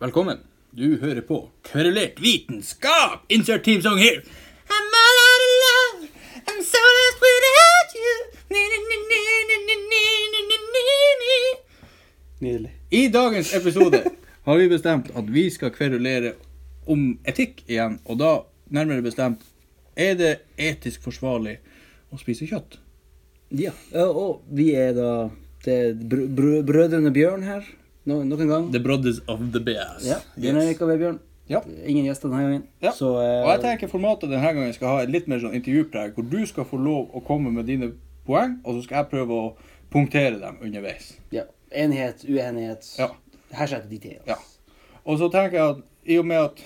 Velkommen. Du hører på Kverulert vitenskap! Insert team song here. I'm all out of love. I'm so lost without you. Nydelig. I dagens episode har vi bestemt at vi skal kverulere om etikk igjen. Og da, nærmere bestemt, er det etisk forsvarlig å spise kjøtt? Ja, ø, og vi er da det er br br brødrene Bjørn her, no nok en gang. The brothers of the bears. Ja, Bjørn Erik og Vebjørn. Ja. Ingen gjester denne gangen. Ja. Så, eh, og jeg tenker formatet denne gangen skal ha et litt mer sånn intervjupreg, hvor du skal få lov å komme med dine poeng, og så skal jeg prøve å punktere dem underveis. ja. Enighet, uenighet. Ja. Hashtag details. Ja. Og så tenker jeg at i og med at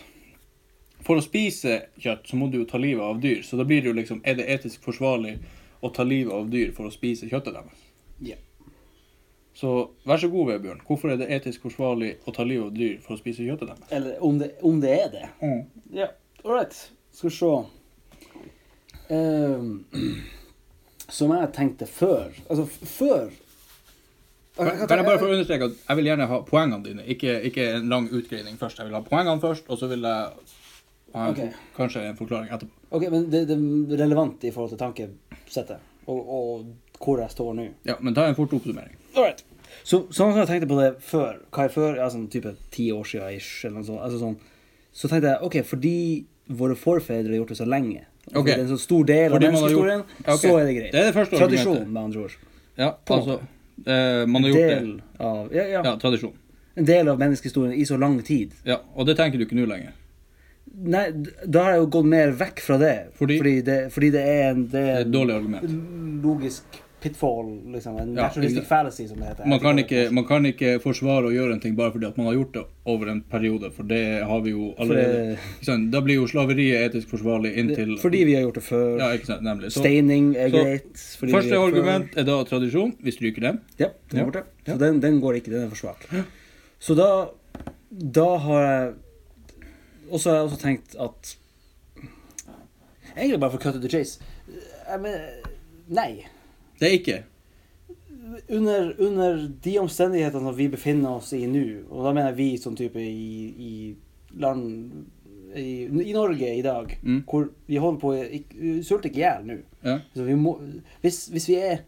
for å spise kjøtt, så må du jo ta livet av dyr. Så da blir det jo liksom Er det etisk forsvarlig å ta livet av dyr for å spise kjøttet deres? Ja. Så vær så god, Vebjørn. Hvorfor er det etisk forsvarlig å ta livet av dyr for å spise kjøttet deres? Eller om det, om det er det. Ja, all right. Skal vi se. Ehm, som jeg tenkte før Altså, f- før Kan kan jeg bare få understreke at jeg vil gjerne ha poengene dine, ikke, ikke en lang utgreining først. Jeg vil ha poengene først, og så vil jeg ha en, Ok. kanskje en forklaring etterpå. OK, men det, det er relevant i forhold til tankesettet og, og hvor jeg står nå. Ja, men ta en fort oppsummering. Alright. Så, sånn som jeg tenkte på det før, hva er før, ja, sånn type ti år siden ish, eller noe sånt, altså sånn, så tenkte jeg, ok, fordi våre forfedre har gjort det så lenge, og fordi Ok. det er en så stor del av Fordi man har menneskehistorien, gjort- Ja, ok. så er det greit. Det er det første argumentet. Tradisjon, med andre ord. Ja, På en altså eh, Man har gjort Del av, ja, ja, det. Ja, tradisjon. en del av menneskehistorien i så lang tid. Ja, Og det tenker du ikke nå lenger? Nei, d- da har jeg jo gått mer vekk fra det, Fordi- det, fordi det er en, det Det er er et en dårlig argument. logisk pitfall, liksom, en Ja, naturalistic ikke- fallacy, som det heter. Man kan, ikke, man kan ikke forsvare å gjøre en ting bare fordi at man har gjort det over en periode, for det har vi jo allerede. det- Ikke sant? Da blir jo slaveriet etisk forsvarlig inntil Fordi vi har gjort det før. Ja, ikke sant, nemlig. Så, Steining er så greit. fordi vi første er før. argument er da tradisjon. Vi stryker den. Ja, den Ja. er borte. Så den, den går ikke, den er for svak. Så da, da har jeg Og så har jeg også tenkt at Egentlig bare for cut to the chase. Jeg mener, nei. Det er ikke. Under, under de omstendighetene som vi befinner oss i nå, og da mener jeg vi som type i, i land i, I Norge i dag, Mm. hvor vi holder på å ikke- sulte ikke i hjel nå. Ja. Så vi må, hvis, hvis vi er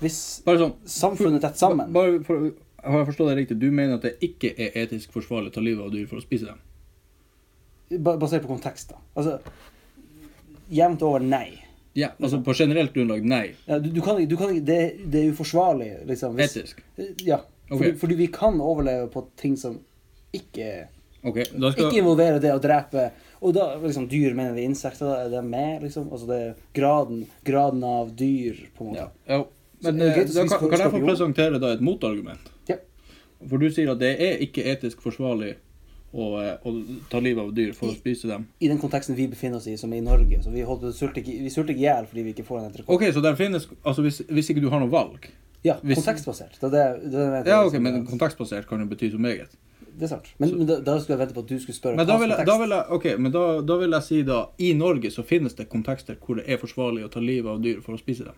Hvis Bare sånn samfunnet tett sammen. Bare for, Har jeg forstått deg riktig? Du mener at det ikke er etisk forsvarlig å ta livet av dyr for å spise dem? ba- Basert på kontekst, da. Altså Jevnt over nei. Ja, altså På generelt grunnlag, nei. Ja, du, du kan, ikke- du kan, ikke- det, det er uforsvarlig, liksom. Etisk. Ja. Fordi, Ok. fordi vi kan overleve på ting som ikke Ok, da skal Ikke involverer det å drepe Og da liksom dyr, mener vi insekter, da er det med, liksom? Altså det er graden, graden av dyr, på en måte. ja. ja. Så Men er det eh, greit å da spise kan, kan jeg få skorpion? presentere da et motargument? Ja. For du sier at det er ikke etisk forsvarlig å, eh, å ta livet av dyr for å spise dem. I den konteksten vi befinner oss i, som er i Norge. Så vi, holdt, på å sulte ikke- vi sulter ikke i hjel fordi vi ikke får en entrecôte. Ok, så der finnes, altså hvis, hvis ikke du har noe valg Ja, Hvis- kontekstbasert. Det er det, det, er det jeg mener. Ja, ok, men kontekstbasert kan jo bety så meget. Det er sant. Men, men da, da skulle jeg vente på at du skulle spørre Men da hva vil jeg, kontekst- da vil jeg, ok, men da, da vil jeg si da, i Norge så finnes det kontekster hvor det er forsvarlig å ta livet av dyr for å spise dem.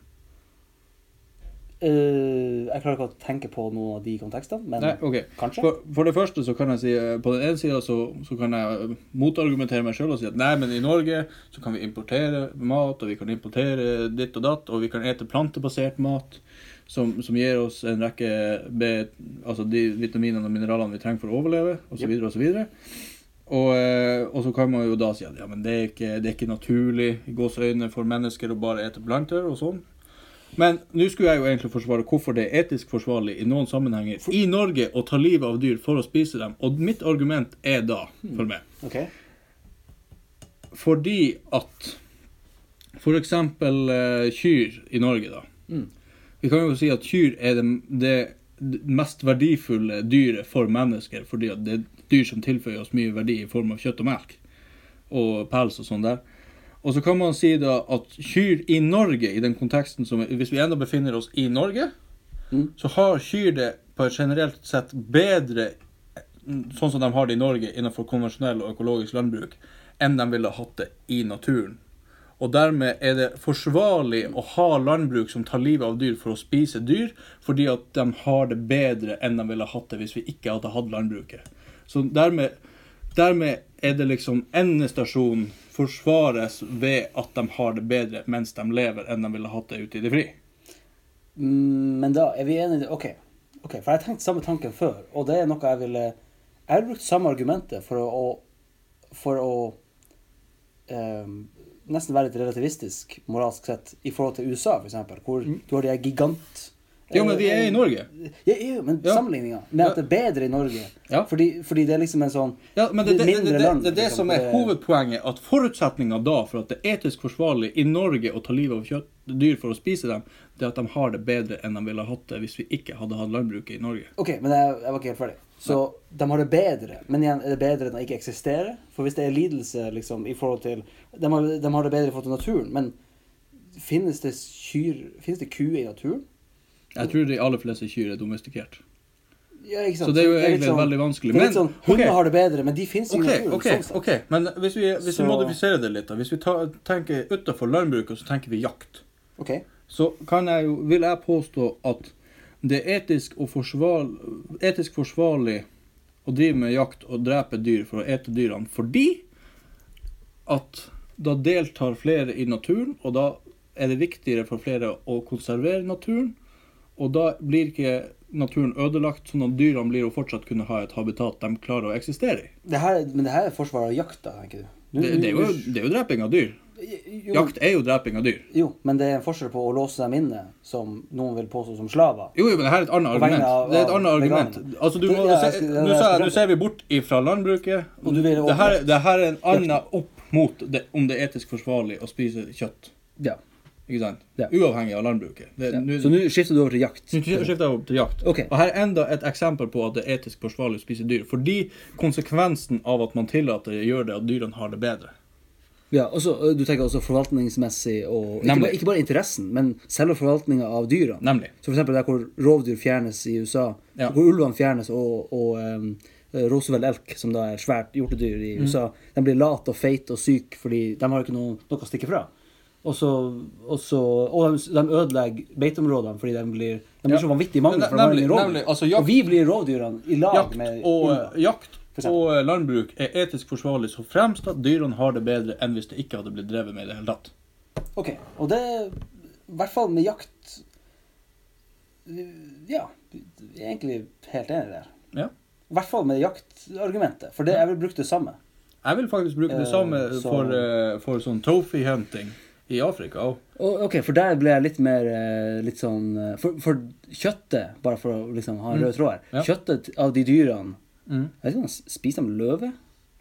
Eh, jeg klarer ikke å tenke på noen av de kontekstene, men Nei, ok. kanskje. For, for det første så kan jeg si, eh, på den ene siden så, så kan jeg eh, motargumentere meg selv og si at nei, men i Norge så kan vi importere mat, og vi kan importere ditt og datt, og vi kan ete plantebasert mat, som, som gir oss en rekke B, altså de vitaminene og mineralene vi trenger for å overleve, og så Yep. videre og så videre. Og, eh, og så kan man jo da si at ja, men det er ikke, det er ikke naturlig i gåseøyne for mennesker å bare ete planter og sånn. Men nå skulle jeg jo egentlig forsvare hvorfor det er etisk forsvarlig i noen sammenhenger i Norge å ta livet av dyr for å spise dem. Og mitt argument er da, for meg, Ok. fordi at for eksempel eh, kyr i Norge, da. Mm. Vi kan jo si at kyr er det, det mest verdifulle dyret for mennesker, fordi at det er dyr som tilføyer oss mye verdi i form av kjøtt og melk og pels og sånn der. Og så kan man si da at kyr i Norge, i den konteksten som Hvis vi ennå befinner oss i Norge, Mm. så har kyr det på et generelt sett bedre sånn som de har det i Norge innenfor konvensjonell og økologisk landbruk, enn de ville hatt det i naturen. Og dermed er det forsvarlig å ha landbruk som tar livet av dyr for å spise dyr, fordi at de har det bedre enn de ville hatt det hvis vi ikke hadde hatt landbruket. Så dermed, dermed er det liksom endestasjonen forsvares ved at de har det bedre mens de lever, enn de ville hatt det ute i det fri. Mm, Men da er vi enige OK. ok, For jeg tenkte samme tanken før, og det er noe jeg ville Jeg har brukt samme argumentet for å For å ehm, nesten være litt relativistisk moralsk sett i forhold til USA, f.eks., hvor du har de her gigant... Mm. Eh, Jo, men vi er i Norge. Ja, jo, men Ja. sammenligninga med at det er bedre i Norge Ja. fordi, fordi det er liksom en sånn Ja, men det, det, det, det, mindre det, land, det er det liksom, som hvor er hovedpoenget, at forutsetninga da for at det er etisk forsvarlig i Norge å ta livet av kjøtt, dyr for å spise dem, det er at de har det bedre enn de ville hatt det hvis vi ikke hadde hatt landbruket i Norge. OK, men jeg, jeg var ikke helt ferdig. Så de har det bedre, men igjen, er det bedre enn å ikke eksistere? For hvis det er lidelse liksom, i forhold til de har, de har det bedre i forhold til naturen, men finnes det kyr Finnes det kuer i naturen? Jeg tror de aller fleste kyr er domestikert. Ja, ikke sant? Så det er jo litt egentlig veldig vanskelig, Det er men- litt sånn, Hunder ok. har det bedre, men de finnes OK, i naturen. ok, sånn sett. ok, men hvis vi, hvis Så- vi modifiserer det litt, da. Hvis vi ta, tenker utafor landbruket, så tenker vi jakt. Ok. så kan jeg jo, vil jeg påstå at det er etisk, og forsvar, etisk forsvarlig å drive med jakt og drepe dyr for å ete dyrene, fordi at da deltar flere i naturen, og da er det viktigere for flere å konservere naturen, og da blir ikke naturen ødelagt, sånn at dyrene blir jo fortsatt kunne ha et habitat de klarer å eksistere i. Det her, men det her er forsvar av jakta, tenker du? Du- Det, det, er, jo, du- det er jo dreping av dyr. jo, Jakt er jo dreping av dyr. Jo, men det er en forskjell på å låse dem inne, som noen vil påstå som slaver. Jo, jo, men det her er et annet På vegne argument. av- det er et annet av argument. veganerne. Altså, du Det- må ja, jeg se, skal- nå, jeg ser, skal nå prøve. ser vi bort ifra landbruket. Og du vil det, her, åpne- det her er en annen opp mot det, om det er etisk forsvarlig å spise kjøtt. Ja. Ikke sant? Ja. Uavhengig av landbruket. Det, nu- Så nå skifter du over til jakt. nå skifter jeg over til jakt. Ok. Og her er enda et eksempel på at det er etisk forsvarlig å spise dyr. Fordi konsekvensen av at man tillater det, gjør det at dyrene har det bedre. Ja, og så, ø, Du tenker også forvaltningsmessig og ikke Nemlig. bare, ikke bare interessen, men selve forvaltninga av dyrene. Nemlig. Så for eksempel der hvor rovdyr fjernes i USA, Ja. hvor ulvene fjernes og, og em, Roosevelt elk, som da er svært hjortedyr i Mhm. USA, de blir late og feite og syke fordi de har ikke noe, noe å stikke fra. Og, så, og, så, og de, de ødelegger beiteområdene fordi de blir, de blir Ja. så vanvittig mange. Men for de har nemlig- ingen rovdyr. nemlig, altså jakt- og vi blir rovdyrene i lag Jakt med og, eh, ulven. jakt For eksempel. og landbruk er etisk forsvarlig så fremst at dyrene har det bedre enn hvis det ikke hadde blitt drevet med i det hele tatt. Ok, og det I hvert fall med jakt Ja, jeg er egentlig helt enig der. Ja. I hvert fall med jaktargumentet, for det, jeg vil bruke det samme. Jeg vil faktisk bruke det Eh, samme så- for, eh, for sånn trophy hunting i Afrika òg. Og- Ok, for der ble jeg litt mer eh, litt sånn eh, For, for kjøttet, bare for å liksom ha en Mm. rød tråd her Ja. Kjøttet av de dyrene Mm. Jeg vet ikke om de spiser de løve?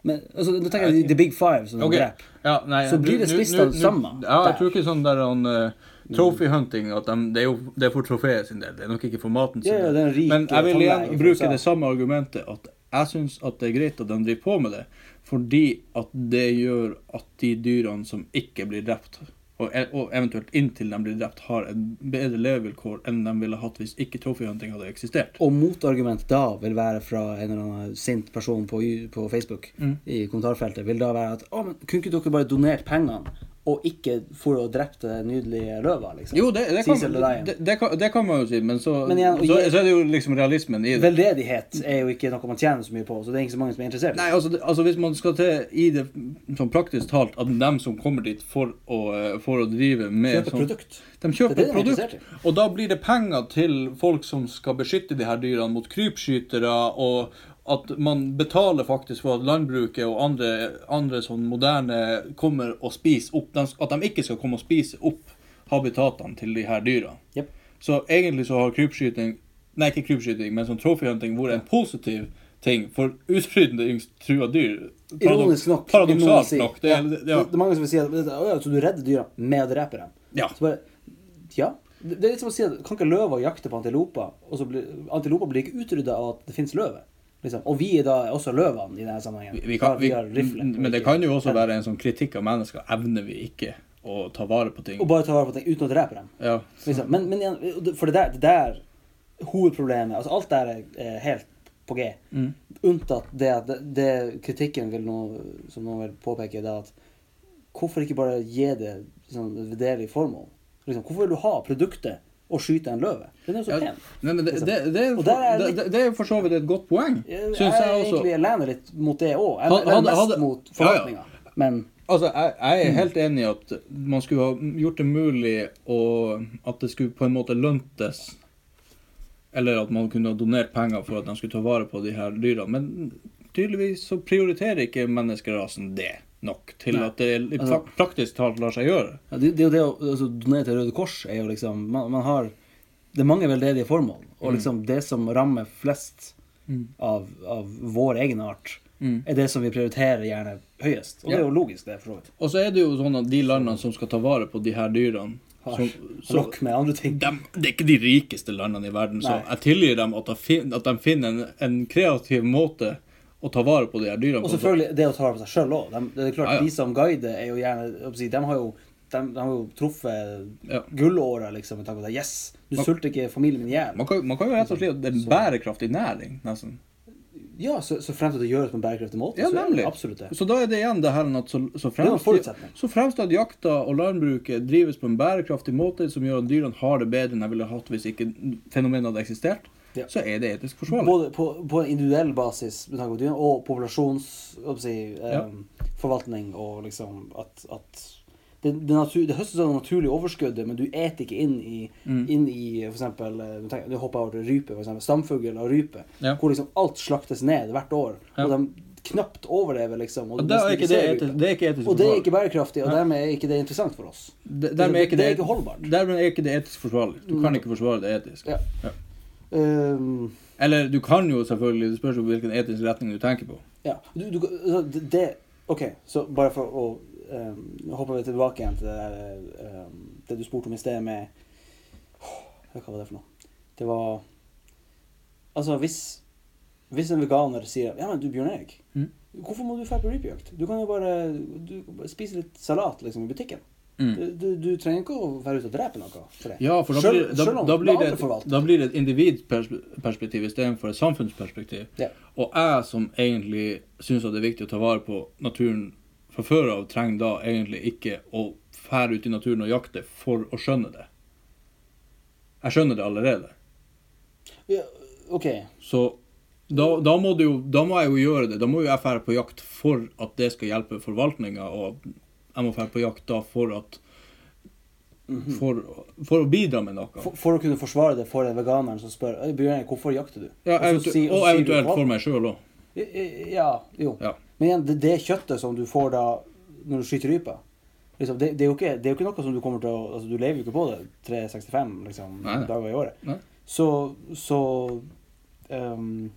Men, altså, nå tenker jeg de, the big five som de Ok. dreper. Ja, nei, Så blir nu- det nu- spist nu- av nu- samme Ja, der. jeg tror ikke sånn der han eh, Trophy hunting at de, det, er jo, det er for trofeet sin del, det er nok ikke for maten sin Ja, ja, del. det er en rik, Men jeg vil eh, igjen tannlege fra USA. bruke det samme argumentet at jeg syns at det er greit at de driver på med det, fordi at det gjør at de dyrene som ikke blir drept, og, e- og eventuelt inntil de blir drept, har et bedre levevilkår enn de ville hatt hvis ikke trophy hunting hadde eksistert. Og motargument da vil være fra en eller annen sint person på, på Facebook Mm. i kommentarfeltet, vil da være at å, men kunne ikke dere bare donert pengene, og ikke for å drepe det nydelige løva, liksom? Jo, det, det, Cecil kan, the Lion. det, det, kan, det kan man jo si, men, så, Men igjen, å så, gi- så er det jo liksom realismen i det. Veldedighet er jo ikke noe man tjener så mye på, så det er ikke så mange som er interessert. Nei, altså, det- altså Hvis man skal til i det sånn praktisk talt at dem som kommer dit for å, eh, for å drive med Kjøpe sånn- produkt. De Det er kjøper det de er produkt, interessert i. og da blir det penger til folk som skal beskytte de her dyrene mot krypskytere, og at man betaler faktisk for at landbruket og andre, andre sånn moderne kommer og spiser opp de, At de ikke skal komme og spise opp habitatene til de her dyra. Jep. Så egentlig så har krypskyting Nei, ikke krypskyting, men sånn trophy hunting vært en positiv ting for utrydningstrua dyr. Paradok- Ironisk nok. vil noen Paradoksalt si. nok. Det, ja. er- det, det, ja. det er mange som vil si at «Å ja, så du redder dyra med å drepe dem. Ja. Så bare, ja. Det det er litt som å si at kan ikke løver jakte på antiloper? Og så blir, antiloper blir ikke utrydda av at det finnes løver. Liksom. Og vi er da også løvene i denne sammenhengen. Vi, vi kan, Bare vi, har rifle, og men det ikke- kan jo også være en sånn kritikk av mennesker. Evner vi ikke å ta vare på ting? Og bare ta vare på ting uten å drepe dem. Ja. Liksom. Men, men igjen, for det der, det der hovedproblemet altså Alt der er eh, helt på G. Mm. Unntatt det at det, det kritikken vil nå, som noen vil påpeke, det er at hvorfor ikke bare gi det sånn, vederlig formål? Liksom, hvorfor vil du ha produktet å skyte en løve. Den er jo så Ja, pen. nei, men det, det, det, er Og der for- er det det, litt- det, det er for så vidt et godt poeng, Jeg, syns jeg, jeg også. egentlig lener litt mot det òg. Jeg Hadde- lener hadde- mest hadde- mot Ja, ja. forvaltninga. Men Altså, jeg, jeg er helt enig i at man skulle ha gjort det mulig og at det skulle på en måte løntes. Eller at man kunne ha donert penger for at de skulle ta vare på de her dyrene. Men tydeligvis så prioriterer ikke menneskerasen det nok til Nei. at det li- Altså- pra- praktisk talt lar seg gjøre. Ja, det, det er jo det å altså, donere til Røde Kors er jo liksom Man, man har Det er mange veldedige formål, Mm. og liksom det som rammer flest av, av vår egen art, Mm. er det som vi prioriterer gjerne høyest. Og det er jo logisk, det, for så vidt. Og så er det jo sånn at de landene som skal ta vare på de her dyrene Har som, så, nok med andre ting. dem- Det er ikke de rikeste landene i verden, så Nei. jeg tilgir dem at de fin- at de finner en, en kreativ måte å ta vare på de her dyrene Og på. selvfølgelig det å ta vare på seg sjøl òg. Det er klart, Ja, ja. de som guider, er jo gjerne jeg håper å si, De har jo, de, de har jo truffet Ja. gullåra, liksom, med tanke på det. Yes! Du sulter ikke familien min i hjel. Man kan, man kan jo rett og slett Det er en bærekraftig næring, nesten. Ja, så, så fremt at det gjøres på en bærekraftig måte. Ja, så er det nemlig. Absolutt det. Så da er det igjen det her at så, så, er jo en fremst, forutsetning. så fremst at jakta og landbruket drives på en bærekraftig måte som gjør at dyrene har det bedre enn de ville hatt hvis ikke fenomenet hadde eksistert, Ja. så er det etisk forsvarlig. Både på, på en individuell basis med tanke på dyrene, og populasjons... jeg håper å Si, em, Forvaltning og liksom at, at det, det, natur, det høstes av det naturlige overskuddet, men du eter ikke inn i, Mm. inn i for eksempel, eh, du tenker- Du hopper over til rype, for eksempel. Stamfugl og rype. Ja. Hvor liksom alt slaktes ned hvert år. Ja. Og de knapt overlever, liksom. Og, Og du da nesten er ikke ikke det, ser etisk, rype. det er ikke etisk og det er forsvarlig. ikke bærekraftig, og dermed er ikke det interessant for oss. Det- dermed er ikke det er det- ikke holdbart. Dermed er ikke det etisk forsvarlig. Du kan ikke forsvare det etisk. Ja. Em, Eller du kan jo selvfølgelig, det spørs jo hvilken etisk retning du tenker på. Ja, du, du, altså, det, det OK, så bare for å um, hoppe vi tilbake igjen til det, der, ehm, det du spurte om i sted med Hva var det for noe? Det var Altså, hvis, hvis en veganer sier Ja, men du, Bjørn Erik, Mhm. hvorfor må du dra på rypejakt? Du kan jo bare du, bare spise litt salat liksom, i butikken. Mm. Du, du, du trenger ikke å være ute og drepe noe for det. Ja, for da Selv- blir, da, selv om da blir, andre det, et- forvalter. da blir det et individperspektiv istedenfor et samfunnsperspektiv. Ja. Og jeg som egentlig syns det er viktig å ta vare på naturen fra før av, trenger da egentlig ikke å fære ut i naturen og jakte for å skjønne det. Jeg skjønner det allerede. Ja, OK. Så da, da, må du jo, da må jeg jo gjøre det. Da må jo jeg fære på jakt for at det skal hjelpe forvaltninga, og jeg må fære på jakt da for at For, for å bidra med noe. Mhm. For, for å kunne forsvare det for den veganeren som spør «Øy, Bjørn Erik, hvorfor jakter du? Ja, Og så eventu sier- og så sier du, eventuelt «Hva?» for meg sjøl òg. Ja, jo. Ja. Men igjen, det, det kjøttet som du får da når du skyter rype liksom, det, det, er jo ikke, det er jo ikke noe som du kommer til å altså, Du lever jo ikke på det 365 liksom, Nei, nei. dager i året. Nei. Så, så ehm,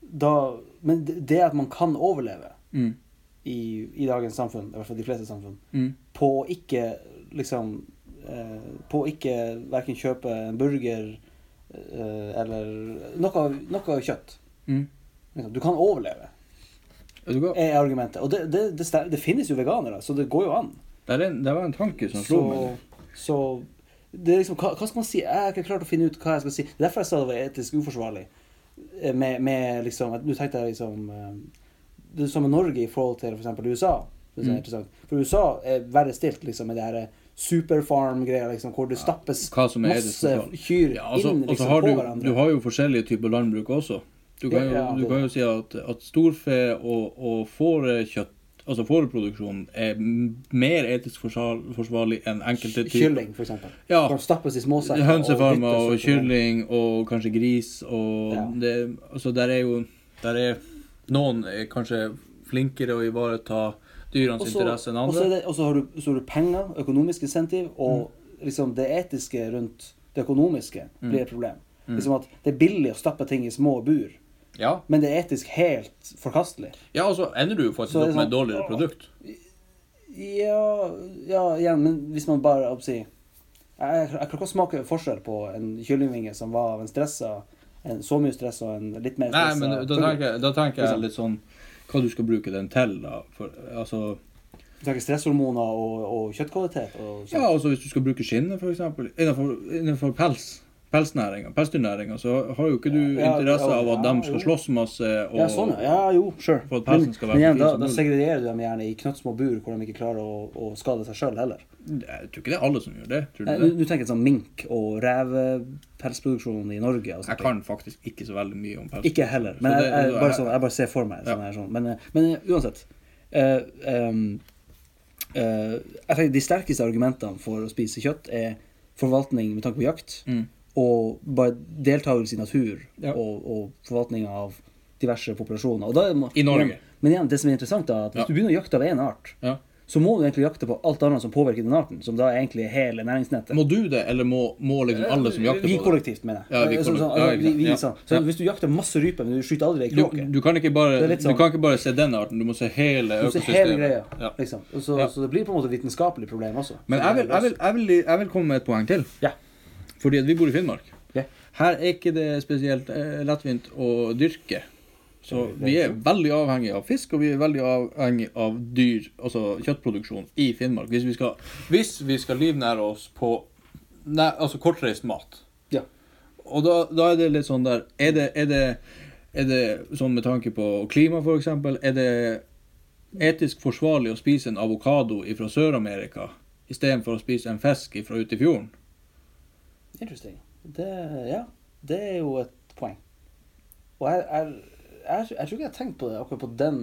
da, Men det det at man kan overleve Mm. i, i dagens samfunn, i hvert fall de fleste samfunn, Mm. på å ikke liksom eh, På å ikke verken kjøpe en burger eh, eller noe, noe kjøtt. Mm. Liksom, du kan overleve, Vet du hva? er argumentet. Og det, det, det, stem- det finnes jo veganere, så det går jo an. Det, er en, det var en tanke som Så, slo meg. så det er liksom, hva, hva skal man si? Jeg har ikke klart å finne ut hva jeg skal si. Det er derfor jeg sa det var etisk uforsvarlig. Eh, Med, med liksom, at- Nå tenkte jeg liksom eh, Det er som med Norge i forhold til f.eks. eksempel USA. Det er Mm. interessant. For USA er verre stilt liksom, med det her superfarm-greia, liksom, hvor det stappes Hva som er etisk masse forsvarlig. kyr Ja, altså, inn og så liksom, har på du, hverandre. du har jo forskjellige typer landbruk også. Du kan jo, Ja, ja, du det- kan jo si at, at storfe og, og fårekjøtt, altså fåreproduksjon, er m- mer etisk forsvar- forsvarlig enn enkelte typer. Kylling, f.eks. Ja. Kan stappes i småsekker. og dyttes Hønsefarmer og oppi hverandre. kylling og kanskje gris og Ja. det, altså der er jo der er, Noen er kanskje flinkere å ivareta dyrenes Også- interesse enn Og så andre. er det- og så har, du- så har du penger, økonomisk insentiv, og liksom det etiske rundt det økonomiske blir et problem. Liksom at Det er billig å stappe ting i små bur, Ja. men det er etisk helt forkastelig. ja, og så ender du jo faktisk Så er opp det med et sånn- dårligere produkt. Ja, ja igjen, men hvis man bare opp, si, jeg, jeg klarer ikke å smake forskjell på en kyllingvinge som var av en stressa en, Så mye stress og en litt mer Nei, stressa men da fugl. tenker, jeg- da tenker jeg Liksom. litt sånn Hva du skal bruke den til, da. For, altså, Du tenker stresshormoner og, og kjøttkvalitet og sånt. ja, altså hvis du skal bruke skinnet, for eksempel. Innenfor, innenfor pels. pelsnæringa, pelsdyrnæringa, så har jo ikke du Ja, interesse ja, av at ja, de skal jo. slåss masse og Ja, sånn, ja. ja jo, sure. For at pelsen Men, skal være men igjen, så fin da, som da mulig. segregerer du dem gjerne i knøttsmå bur hvor de ikke klarer å, å skade seg sjøl heller. Jeg tror ikke det er alle som gjør det. Tror du Nei, det? Du du tenker sånn mink- og revepelsproduksjon i Norge. og sånt. sånn. Jeg kan faktisk ikke så veldig mye om pels. Ikke jeg heller. Men Så jeg, det- så jeg, bare jeg- sånn, jeg bare ser for meg Ja. sånn her sånn. Men, eh, men eh, uansett. Eh, em, eh, jeg tenker De sterkeste argumentene for å spise kjøtt er forvaltning med tanke på jakt, Mm. og bare deltakelse i natur Ja. og, og forvaltning av diverse populasjoner. Og da, er man- I Norge. Men, men igjen, det som er interessant, da, er at hvis Ja. du begynner å jakte av én art, Ja. så må du egentlig jakte på alt annet som påvirker den arten, som da er egentlig er hele næringsnettet. Må du det, eller må, må liksom alle som jakter vi på det? kollektivt, mener jeg. Ja, vi Eh, sånn- kollektivt. sånn, Ja, ikke altså, vi, sant. vi, Ja. sånn. Så Ja. hvis du jakter masse ryper, men du skyter aldri ei Du, kråke du, kan ikke Det er bare, litt du sånn- kan ikke bare se den arten, du må se hele Du ser hele greia, økosystemet. Ja. liksom. Og så, Ja. så det blir på en måte et vitenskapelig problem også. Men jeg vil, jeg, vil, jeg, vil, jeg vil komme med et poeng til. Ja. Fordi at vi bor i Finnmark. Ja. Her er ikke det spesielt eh, lettvint å dyrke. Så vi er veldig avhengig av fisk, og vi er veldig avhengig av dyr, altså kjøttproduksjon, i Finnmark. Hvis vi skal, hvis vi skal livnære oss på nei, altså kortreist mat. Ja. Og da, da er det litt sånn der Er det, er det, er det sånn med tanke på klima, f.eks.? Er det etisk forsvarlig å spise en avokado fra Sør-Amerika istedenfor å spise en fisk fra ute i fjorden? Interesting. Det, ja, det er jo et poeng. Og jeg, jeg, jeg, jeg tror ikke jeg har tenkt på det akkurat på den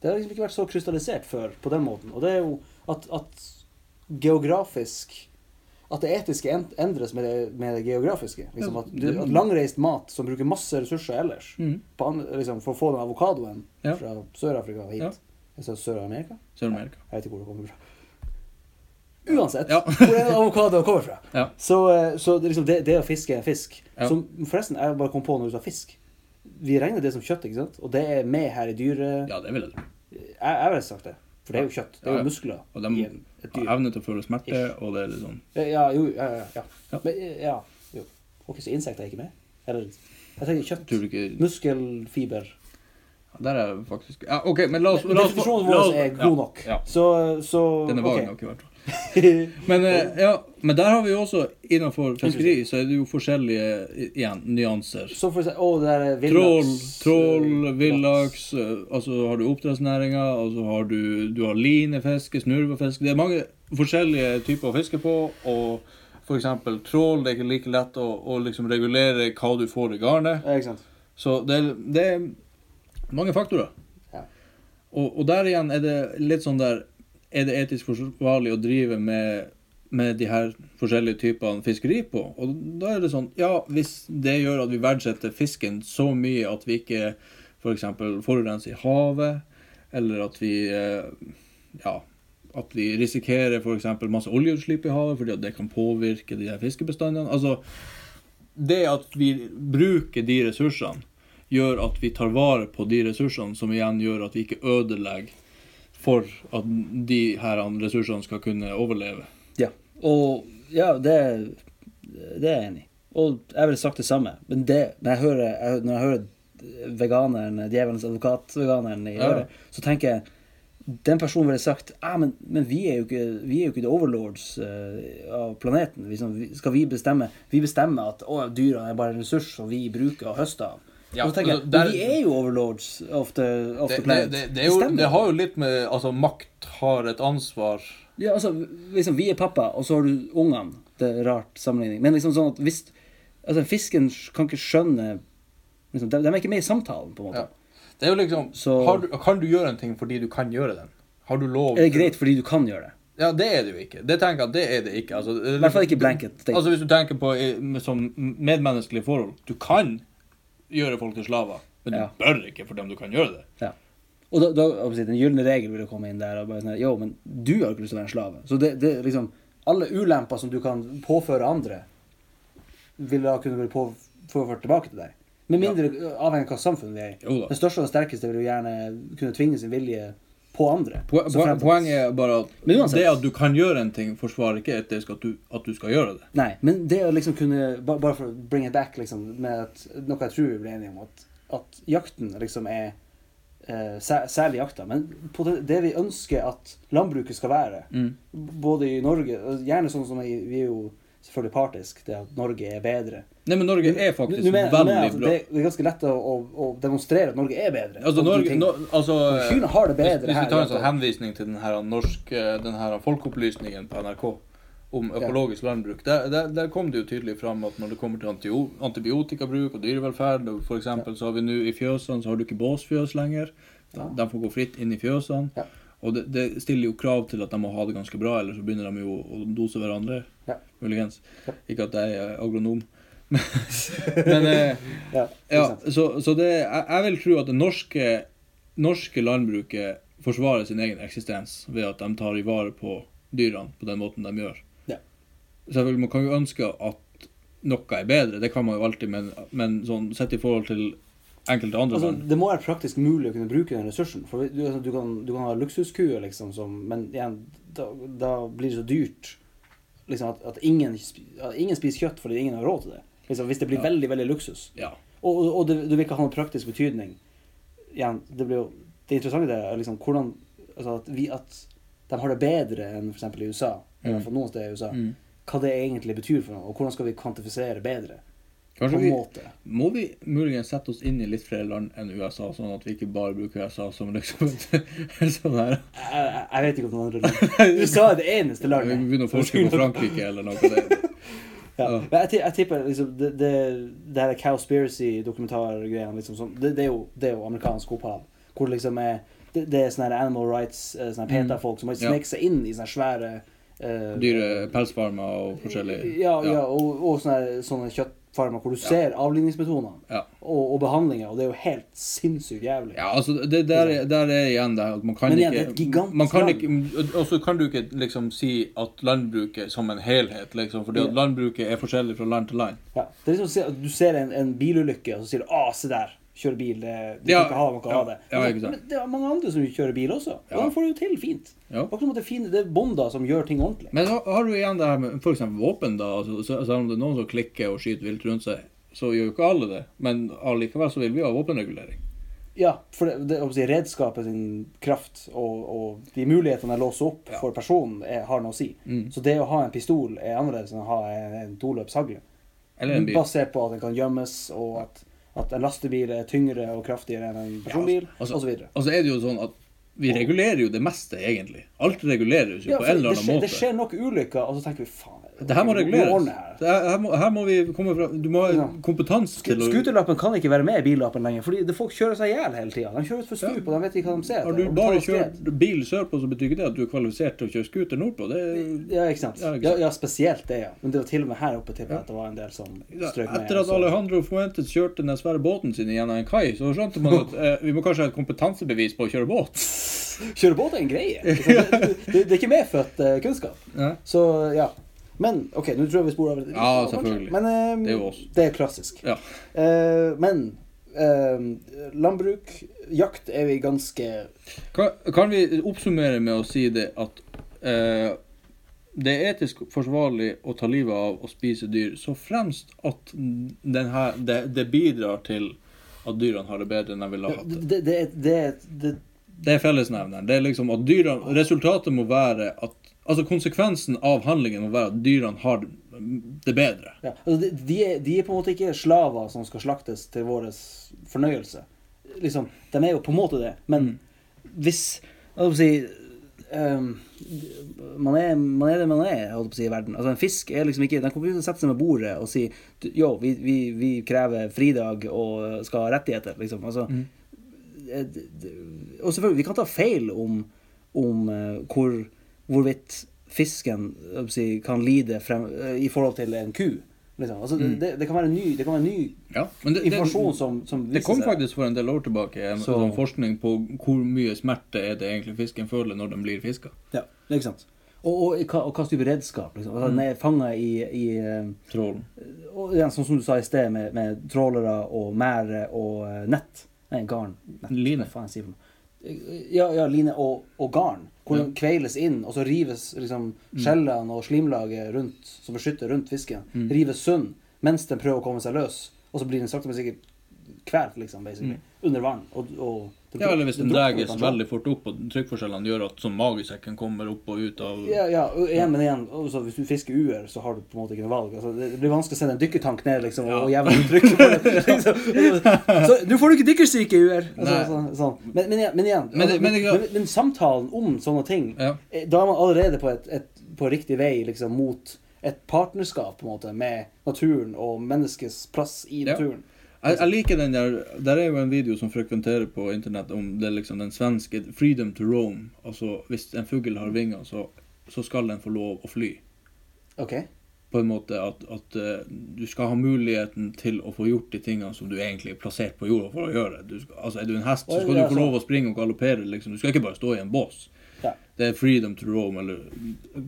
Det har liksom ikke vært så krystallisert før på den måten. Og det er jo at, at geografisk At det etiske en- endres med det, med det geografiske. Liksom at, du, at langreist mat som bruker masse ressurser ellers Mhm. på andre, liksom, For å få den avokadoen Ja. fra Sør-Afrika hit Ja. Altså Sør-Amerika? Sør-Amerika. Jeg vet ikke hvor det kommer fra. Uansett Ja. hvor en avokado kommer fra. Ja. Så, eh, så det, er liksom, det, det å fiske er fisk. Ja. Som forresten, jeg bare kom på når du sa fisk. Vi regner det som kjøtt, ikke sant? Og det er med her i dyre... Ja, det vil jeg tro. Jeg, jeg ville sagt det. For det er jo kjøtt. Det er Ja, ja. jo muskler Og de i en, et har dyr. Eh, evne til å føle smerte, og det er litt sånn Ja, jo, ja, ja. ja. Ja. Men, eh, ja jo. Ok, så insekter er ikke med? Eller, jeg tenker Tror kjøtt. du ikke Muskelfiber. Der er jeg faktisk Ja, OK, men la oss la oss- Definisjonen la oss- vår er god nok. Ja, ja. Så, så Den er vag ok. nok, i hvert fall. Men, eh, ja, men der har vi jo også Innenfor fiskeri så er det jo forskjellige i- igjen, nyanser. Så for å si, å, det der er Trål, villaks. trål, villaks, eh, altså har du oppdrettsnæringa, og så har du, du har linefiske, snurvefiske Det er mange forskjellige typer å fiske på, og for eksempel trål, det er ikke like lett å, å liksom regulere hva du får i garnet. Ja, ikke sant? Så det, er- det er mange faktorer. Ja. Og, og der igjen er det litt sånn der Er det etisk forsvarlig å drive med, med de her forskjellige typene fiskeri på? Og da er det sånn Ja, hvis det gjør at vi verdsetter fisken så mye at vi ikke f.eks. forurenser i havet, eller at vi eh, Ja. At vi risikerer f.eks. masse oljeutslipp i havet fordi at det kan påvirke de her fiskebestandene. Altså, det at vi bruker de ressursene, gjør at vi tar vare på de ressursene, som igjen gjør at vi ikke ødelegger for at de her ressursene skal kunne overleve. Ja. Og ja, det, det er jeg enig i. Og jeg ville sagt det samme, men det, når, jeg hører, jeg, når jeg hører veganeren, djevelens advokat-veganeren i Ja. øret, så tenker jeg den personen ville sagt ah, men, men vi, er jo ikke, vi er jo ikke the overlords eh, av planeten. Vi, som- vi- skal vi bestemme Vi bestemmer at å, dyra er bare en ressurs som vi bruker og høster av. Ja, og så tenker jeg, altså, der- men Vi er jo overlords of the, of the planet. er jo- Bestemmer. det har jo litt med Altså, makt har et ansvar. Ja, altså, liksom, vi er pappa, og så har du ungene. Det er rart sammenligning. Men liksom sånn at hvis Altså, fisken kan ikke skjønne liksom, de, de er ikke med i samtalen, på en måte. Ja. Det er jo liksom Så- har du, Kan du gjøre en ting fordi du kan gjøre den? Har du lov Er det greit fordi du kan gjøre det? Ja, det er det jo ikke. Det tenker jeg at det er det ikke. Altså, I hvert fall ikke blanket. tenk. Altså Hvis du tenker på i- med- som medmenneskelige forhold Du kan gjøre folk til slaver, men du Ja. bør ikke for dem du kan gjøre det. ja. Og da, da hva skal jeg si, Den gylne regel vil jo komme inn der og bare sånn her, Jo, men du har jo ikke lyst til å være en slave. Så det, det er liksom Alle ulemper som du kan påføre andre, vil da kunne bli på- påført tilbake til deg. Med mindre avhengig av hva samfunn vi er i. Jo da. Den største og den sterkeste vil jo gjerne kunne tvinge sin vilje på andre. Po Så po fremt at- poenget er bare at Men uansett- det at du kan gjøre en ting, forsvarer ikke etisk at du, at du skal gjøre det. Nei, men det å liksom kunne ba- Bare for å bring it back, liksom, med at, noe jeg tror vi ble enige om, at, at jakten liksom er eh, sæ- Særlig jakta, men på det, det vi Mm. ønsker at landbruket skal være, både i Norge og Gjerne sånn som i, vi er jo selvfølgelig partisk, det at Norge er bedre. Nei, men Norge er faktisk Nå mener- nå mener jeg veldig at bra. det, det er ganske lett å, å, å demonstrere at Norge er bedre. Altså, på de Norge, tingene. no, altså Kyrne har det bedre hvis, hvis her, vi tar en rett og- sånn henvisning til den her norsk, eh, den her folkeopplysningen på NRK om økologisk landbruk, der, der, der kom det jo tydelig fram at når det kommer til antio- antibiotikabruk og dyrevelferd, og for eksempel så har vi nå i fjøsene, så har du ikke båsfjøs lenger. De, de får gå fritt inn i fjøsene. Ja. Og det, det stiller jo krav til at de må ha det ganske bra, ellers så begynner de jo å dose hverandre. Ja. Muligens. Ja. Ikke at jeg er agronom. Men, men eh, Ja, ikke ja, sant? så, så det, jeg, jeg vil tro at det norske, norske landbruket forsvarer sin egen eksistens ved at de tar i vare på dyrene på den måten de gjør. Ja. Selvfølgelig, Man kan jo ønske at noe er bedre, det kan man jo alltid, men, men sånn, sett i forhold til enkelte andre Altså, land det må være praktisk mulig å kunne bruke den ressursen. For du, altså, du, kan, du kan ha luksuskuer, liksom, som, men igjen, da, da blir det så dyrt liksom, at, at, ingen, sp- at ingen spiser kjøtt fordi ingen har råd til det. Liksom, hvis det blir veldig, veldig luksus. Ja. Og, og, og det, det vil ikke ha noen praktisk betydning. Igjen, det, blir jo, det interessante der er liksom hvordan altså at, vi, at de har det bedre enn f.eks. i USA, eller i hvert fall noen steder i USA. Mm. Hva det egentlig betyr for noe, og hvordan skal vi kvantifisere bedre? På Kanskje en vi, måte. må vi muligens sette oss inn i litt flere land enn USA, sånn at vi ikke bare bruker USA som liksom sånn her. Jeg, jeg, jeg vet ikke om noen andre land. USA er det eneste Vi landet. begynner å forske på Frankrike eller noe. Det, Ja. Men jeg, ti- jeg tipper liksom, det, det, det her Cowspiracy-dokumentargreiene liksom, sånn, det, det, er jo- det er jo amerikansk opphav. Hvor det liksom er, det, det er sånne her animal rights, eh, sånne her PETA-folk som har Mm. Ja. sneket seg inn i sånne svære eh, Dyre pelsfarmer og forskjellig Ja, ja og, og sånne, her- sånne kjøttfarmer hvor du ser avligningsmetodene Ja. og, og behandlinger, og det er jo helt sinnssykt jævlig. Ja, altså, det, der, er, der er igjen det at man kan Men igjen, ikke det er et gigantisk man kan land. ikke, Og så kan du ikke liksom si at landbruket som en helhet, liksom, fordi at Ja. landbruket er forskjellig fra land til land. Ja. Det er liksom å se- at Du ser en, en bilulykke, og så sier du 'Å, se der, kjør bil. Det, du Ja, kan ikke ha noe ja, av det'. ja, Men- ikke sant. Men det er mange andre som kjører bil også, og Ja. de får det jo til fint. Ja. Akkurat som at det er, fine, det er bonder som gjør ting ordentlig. Men så har du igjen det her med f.eks. våpen, da. Altså, så- selv om det er noen som klikker og skyter vilt rundt seg, så gjør jo ikke alle det. Men allikevel så vil vi ha våpenregulering. Ja, for det, det, å si, redskapet sin kraft og, og de mulighetene jeg låser opp for personen, er, har noe å si. Mm. Så det å ha en pistol er annerledes enn å ha en, en toløpshagle. Eller en bil. Basert på at den kan gjemmes, og at, at en lastebil er tyngre og kraftigere enn en personbil, altså- og så videre. Og så er det jo sånn at vi regulerer jo det meste, egentlig. Alt reguleres jo Ja, på en for det, eller annen skjer, måte. det skjer nok ulykker, og så tenker vi faen Det her må vi reguleres. ordne her. Det her, her, må, her må vi komme fra Du må ha Ja. kompetanse til å Scooterlappen kan ikke være med i billappen lenger, fordi det- folk kjører seg i hjel hele tida. De kjører utfor stup, og de vet ikke hva de ser. Har etter, du og de tar bare av sted. kjørt bil sørpå, så betyr ikke det at du er kvalifisert til å kjøre scooter nordpå. Det er, Ja, ikke sant. Ja, ikke Ja, sant. ja, spesielt det, ja. Men det var til og med her oppe tipper jeg at det var en del som strøk med. etter at så- Alejandro Fuentes kjørte den svære båten sin gjennom en kai, så skjønte man at eh, vi må kanskje ha et kompetansebevis på å kjøre båt. Kjøre båt er en greie. ikke sant? Det, det, det er ikke medfødt eh, kunnskap. Nei. Så ja. Men OK, nå tror jeg vi sporer over. litt. Ja, selvfølgelig. Men ehm, Det er jo oss. det er klassisk. Ja. Eh, men ehm, landbruk, jakt er vi ganske Kan, kan vi oppsummere med å si det at eh, det er etisk forsvarlig å ta livet av å spise dyr, så fremst at den her, det, det bidrar til at dyrene har det bedre enn de ville ha hatt det. Det, det, er- det, er- det, Det er fellesnevneren. Det er liksom at dyrene, Resultatet må være at Altså konsekvensen av handlingen må være at dyrene har det bedre. ja. altså, de, de, er, de er på en måte ikke slaver som skal slaktes til vår fornøyelse. Liksom, de er jo på en måte det, men hvis jeg holdt på å si ehm, man, er, man er det man er, jeg holdt på å si, i verden. Altså, en fisk er liksom ikke Den kommer ikke til å sette seg med bordet og si «Du, Yo, vi, vi, vi krever fridag og skal ha rettigheter, liksom. Altså, eh, d- d- Og selvfølgelig, vi kan ta feil om, om eh, hvor, hvorvidt fisken jeg holdt på å si, kan lide frem, eh, i forhold til en ku. Liksom. Altså, det, det kan være ny, det kan være ny Ja, men Mm. det, informasjon som, som det kom viser seg. faktisk for en del år tilbake en Så- sånn forskning på hvor mye smerte er det egentlig fisken føler når den blir fiska. Ja, ikke sant. Og, og, hva- og hva slags type redskap? Liksom. Mm. Altså, Den er fanga i, i eh, Trålen. og igjen, sånn som du sa i sted, med, med trålere og mære og eh, nett. Nei, garn. Nett. Line. Hva faen sier man? Ja, ja, line og, og garn. Hvor den kveiles inn, og så rives liksom, Mm. skjellene og slimlaget rundt, som beskytter rundt fisken, Mm. rives sund mens den prøver å komme seg løs. Og så blir den sakte, men sikkert kvalt, liksom, basically, under vann. Og, og Mm. Det Ja, drukner- eller hvis den det drukner deges kanskje. veldig fort opp, og trykkforskjellene gjør at sånn magesekken kommer opp og ut av Ja, ja, og igjen, men igjen, altså, hvis du fisker uer, så har du på en måte ikke noe valg. Altså, det det blir vanskelig å sende en dykkertank ned liksom, og Ja. jevne trykket på det. Liksom. Så nå får du ikke dykkersyke i uer! Altså, Nei. sånn, sånn. Men, men, igjen- men igjen, Men det- altså, men men, det- men, men samtalen om sånne ting, Ja. eh, da er man allerede på, et, et, på riktig vei liksom, mot et partnerskap på en måte, med naturen og menneskets plass i Ja. naturen. Jeg, jeg liker den der Der er jo en video som frekventerer på internett om det er liksom den svenske 'freedom to roam'. Altså hvis en fugl har vinger, så, så skal den få lov å fly. Ok? På en måte at, at eh, du skal ha muligheten til å få gjort de tingene som du egentlig er plassert på jorda for å gjøre. Du skal, altså Er du en hest, så Oi, skal ja, du få sånn. lov å springe og galoppere. Liksom. Du skal ikke bare stå i en bås. Ja. Det er 'freedom to roam', eller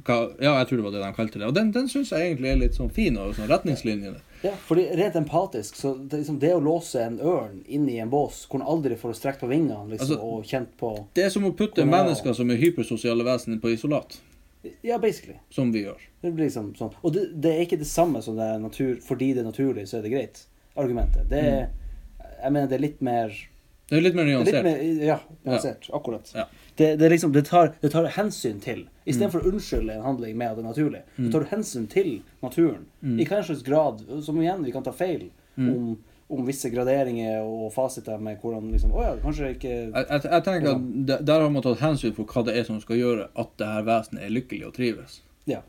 hva Ja, jeg tror det var det de kalte det. Og den, den syns jeg egentlig er litt sånn fin, og sånn retningslinjene. Ja, fordi rent empatisk, så det, liksom, det å låse en ørn inn i en bås, hvor den aldri får strekt på vingene liksom, Altså- og kjent på Det er som å putte Kommer det av? mennesker som er hypersosiale vesener, på isolat. Ja, basically. Som vi gjør. Det blir liksom sånn. Og det, det er ikke det samme som det er natur, fordi det er naturlig, så er det greit. Argumentet. Det er, Jeg mener det er litt mer Det er litt mer det er Litt nyansert. mer ja, nyansert. Akkurat. Ja. Mm. Det, det, er liksom, det, tar, det tar hensyn til. Istedenfor å unnskylde en handling med at det er naturlig, så tar du hensyn til naturen. Mm. I hva slags grad Som igjen, vi kan ta feil om, om visse graderinger og fasiter med hvordan liksom Å ja, kanskje ikke Jeg, jeg, jeg tenker at de- Der har man tatt hensyn for hva det er som skal gjøre at det her vesenet er lykkelig og trives. Ja.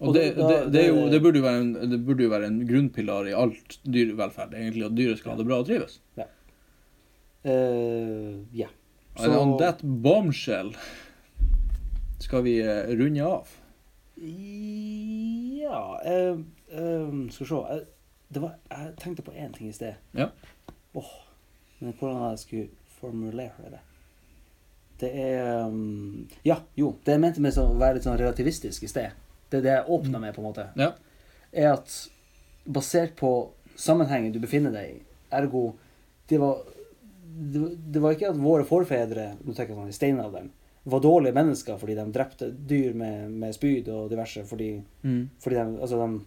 Og Og det, da- det, det, er jo, det- det, burde jo være en, det burde jo være en grunnpilar i alt dyrevelferd, egentlig, at dyret skal ha det bra og trives. Eh, ja. And on that bombshell skal vi eh, runde av. Ja eh, eh, Skal vi se. Jeg, det var, jeg tenkte på én ting i sted. Ja. Åh, men hvordan jeg skulle formulere det Det er um, Ja, jo. Det jeg mente med sånn, å være litt sånn relativistisk i sted, det er det jeg åpna med, på en måte, Ja. er at basert på sammenhengen du befinner deg i, ergo det var, det, det var ikke at våre forfedre nå tenker jeg sånn, i steinalderen var dårlige mennesker fordi de drepte dyr med, med spyd og diverse fordi Mm. fordi de, altså de,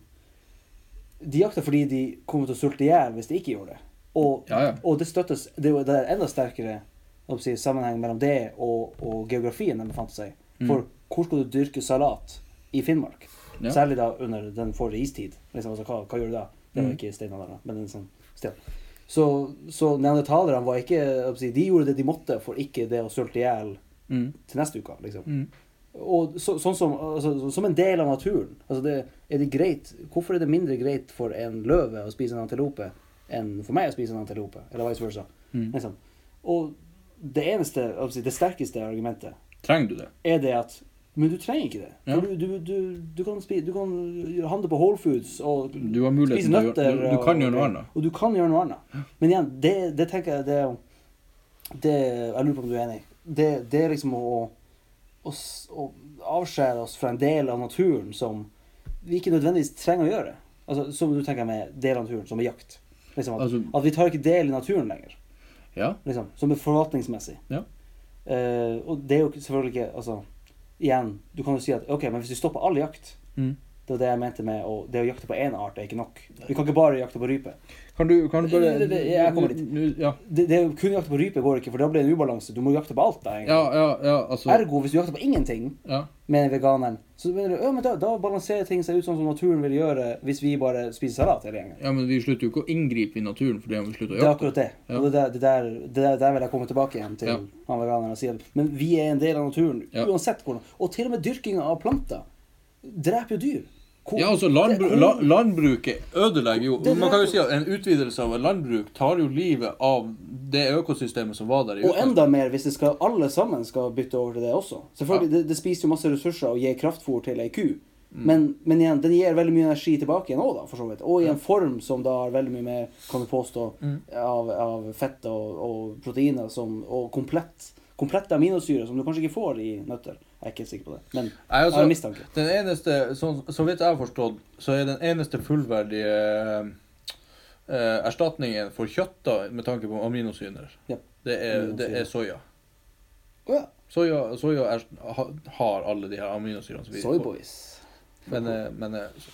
de jakta fordi de kom til å sulte i hjel hvis de ikke gjorde det. Og, Ja, ja. og det støttes Det er jo- det er enda sterkere hva skal jeg si, sammenheng mellom det og, og geografien de befant seg i. Mm. For hvor skal du dyrke salat i Finnmark? Ja. Særlig da under den forrige istid. Liksom, altså, hva, hva gjør du da? Det Mm. var ikke steinalderen, men en sånn sted. Så, så neandertalerne var ikke hva skal jeg si, De gjorde det de måtte for ikke det å sulte i hjel Mm. til neste uke, liksom. Mm. Og så, sånn som, altså, så- som en del av naturen. Altså det, er det greit, hvorfor er det mindre greit for en løve å spise en antilope enn for meg å spise en antilope? Eller vice versa. Mm. Liksom. Og det eneste, altså, det sterkeste argumentet Trenger du det? er det at Men du trenger ikke det. Ja. For du, du, du, du, kan spi, du kan handle på Whole Foods og Du har muligheten spise til å nøtter. gjøre du, du kan og- gjøre noe annet. Og du kan gjøre noe annet. Men igjen, det, det tenker jeg det, det Jeg lurer på om du er enig. Det, det er liksom å, å, s- å avskjære oss fra en del av naturen som vi ikke nødvendigvis trenger å gjøre. Altså, som du tenker med del av naturen, som er jakt. Liksom at, Altså- at vi tar ikke del i naturen lenger. Ja. Liksom, som er forvaltningsmessig. Ja. Eh, og det er jo ikke- selvfølgelig ikke Altså, igjen, du kan jo si at OK, men hvis du stopper all jakt Mm. Det var det jeg mente med å, det å jakte på én art er ikke nok. Vi kan ikke bare jakte på rype. Kan du, kan du bare Det- det- det- jeg kommer dit. Nå- Ja. Det, det å kun jakte på rype går ikke, for da blir det en ubalanse. Du må jakte på alt. da, egentlig. Ja, ja, ja, altså Ergo, hvis du jakter på ingenting, ja. mener veganeren, så mener du, ja, men da, da balanserer ting seg ut sånn som naturen vil gjøre hvis vi bare spiser salat hele gjengen. ja, men vi slutter jo ikke å inngripe i naturen fordi om vi slutter å Det er jakte. akkurat det. Ja. Og det der, det der, det der, der vil jeg komme tilbake igjen til Ja. han veganeren og si at men vi er en del av naturen Ja. uansett hvordan. Og til og med dyrkinga av planter dreper jo dyr. Hvor- Ja, altså det- landbru hvor- la landbruket ødelegger jo Det- det- Man kan jo si at en utvidelse av et landbruk tar jo livet av det økosystemet som var der. i Og utgangspunktet. enda mer hvis det skal, alle sammen skal bytte over til det også. Selvfølgelig, det, det spiser jo masse ressurser å gi kraftfôr til ei ku. Mm. Men, men igjen, den gir veldig mye energi tilbake igjen òg, for så vidt. Og i en form som da har veldig mye mer, kan du påstå, Mm. av, av fett og, og proteiner som, og komplett, komplette aminosyrer som du kanskje ikke får i nøtter. Jeg er ikke helt sikker på det, men Nei, altså, jeg har en mistanke. Den eneste, så, så vidt jeg har forstått, så er den eneste fullverdige eh, erstatningen for kjøtt da, med tanke på aminosyrer, Ja. det er, det Aminosyrer. er soya. Å ja. Soya, soya er, ha, har alle de her aminosyrene som vi Soyboys. Men, eh, men eh,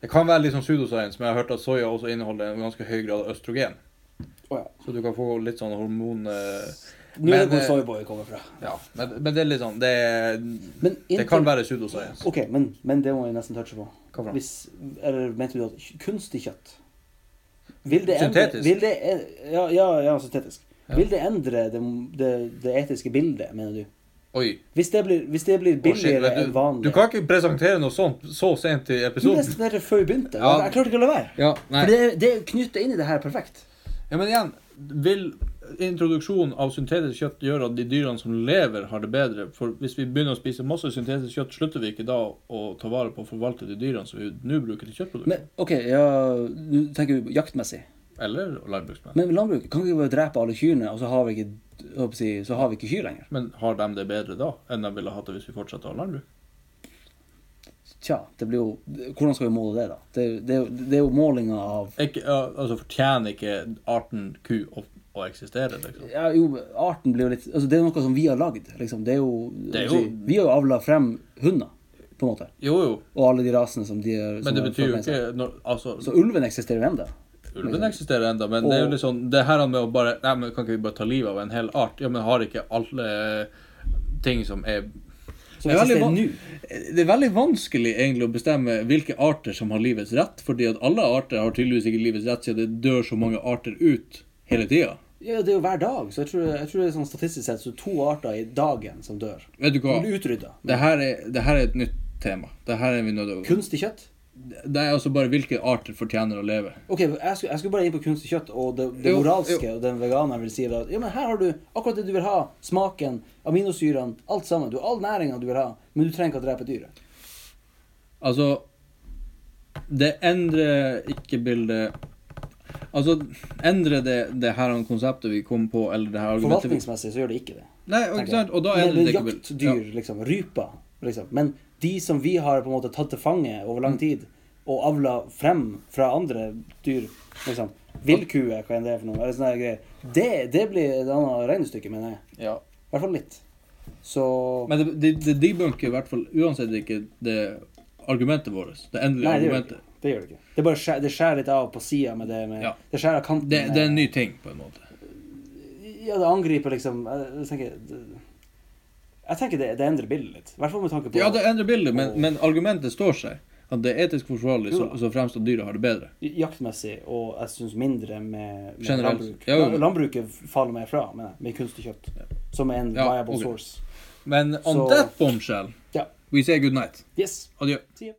det kan være litt sånn pseudoscience, men jeg har hørt at soya også inneholder en ganske høy grad av østrogen. Å, ja. Så du kan få litt sånn hormon... eh, Nå er Men, det hvor eh, Soyboy kommer fra. Ja, men, men det er litt sånn Det, Men det inntil- kan være pseudoscience. OK, men, men det må jeg nesten touche på. Hva for noe? Hvis, eller mente du at kj- kunstig kjøtt vil det Syntetisk? Endre, vil det, en- ja, ja, ja, syntetisk. Ja. Vil det endre det, det, det etiske bildet, mener du? Oi. Hvis det blir, hvis det blir å, shit, billigere men enn du, vanlig du kan ikke presentere noe sånt så sent i Du episoden. leste det sånn før vi begynte. Ja. Jeg klarte ikke å la være. Ja, nei. For det, det knytter inn i det her perfekt. Ja, men igjen, vil introduksjonen av syntetisk kjøtt gjøre at de dyrene som lever, har det bedre? For hvis vi begynner å spise masse syntetisk kjøtt, slutter vi ikke da å ta vare på og forvalte de dyrene som vi nå bruker til kjøttproduksjon? Men OK, ja, du tenker jo jaktmessig. Eller landbruksmenn? Men, Men landbruk, kan vi ikke bare drepe alle kyrne, og så har vi ikke, jeg håper å si, så har vi ikke kyr lenger? har de det bedre da enn de ville hatt det hvis vi fortsatte å ha landbruk? Tja, det blir jo Hvordan skal vi måle det, da? Det, er jo- det, er jo- det er jo målinga av Ikke, ja, altså, fortjener ikke arten ku å, å eksistere, liksom? ja, jo, arten blir jo litt altså Det er jo noe som vi har lagd. Liksom. Det er jo, altså, Det er jo- Vi har jo avla frem hunder, på en måte. Jo, jo, Og alle de rasene som de har som men det har betyr fått jo med seg. ikke når, Altså, Så ulven eksisterer jo ennå. Ulven eksisterer ennå, men det er jo Og- litt sånn Det her med å bare Nei, men kan ikke vi bare ta livet av en hel art? Ja, men har ikke alle ting som er Som Det er veldig eksisterer van- nå. Det er veldig vanskelig egentlig å bestemme hvilke arter som har livets rett, fordi at alle arter har tydeligvis ikke livets rett siden det dør så mange arter ut hele tida. Ja, det er jo hver dag, så jeg tror, jeg tror det er sånn statistisk sett så to arter i dagen som dør. Vet du hva? Som blir utrydda. Det her er, det her er et nytt tema. Det her er vi nødt til å Kunstig kjøtt? Det er altså bare hvilke arter fortjener å leve. Ok, jeg skulle, jeg skulle bare inn på kunstig kjøtt og det, det Jo, moralske, og den veganeren vil si da at ja, men her har du akkurat det du vil ha. Smaken, aminosyrene, alt sammen. Du har all næringa du vil ha, men du trenger ikke å drepe dyret. Altså Det endrer ikke bildet Altså, endre det, det her konseptet vi kom på, eller det her argumentet vi Forvaltningsmessig så gjør det ikke det. Nei, og ikke sant? Og da Men endrer det det ikke er bildet. jaktdyr, liksom. Ryper. Liksom. Men de som vi har på en måte tatt til fange over Mm. lang tid, og avla frem fra andre dyr, liksom. Villkue, hva enn det er for noe. Eller sånne her greier. Det, det blir et annet regnestykke, mener jeg. Ja. Ja. I hvert fall litt. Så Men det, det, det debunker i hvert fall uansett ikke det argumentet vårt. Det endelige Nei, det gjør det argumentet. ikke. Det gjør det ikke. Det, bare skjærer, det skjærer litt av på sida med det med Ja. Det skjærer av kanten Det, det er en ny med- ting, på en måte. Ja, det angriper liksom Jeg, jeg tenker det, jeg tenker det, det endrer bildet litt. I hvert fall med tanke på Ja, det endrer bildet, men, Og- men argumentet står seg. At det er etisk forsvarlig så, Jo da. så fremst at dyret har det bedre. jaktmessig, og jeg syns mindre med, med Generelt. landbruk. Ja, jo. Landbruket faller meg fra, mener jeg, med kunstig kjøtt. Som er en Ja, viable ok. source. Men on Så- that bombshell, Ja. we say good night. Yes. Adjø. See ya.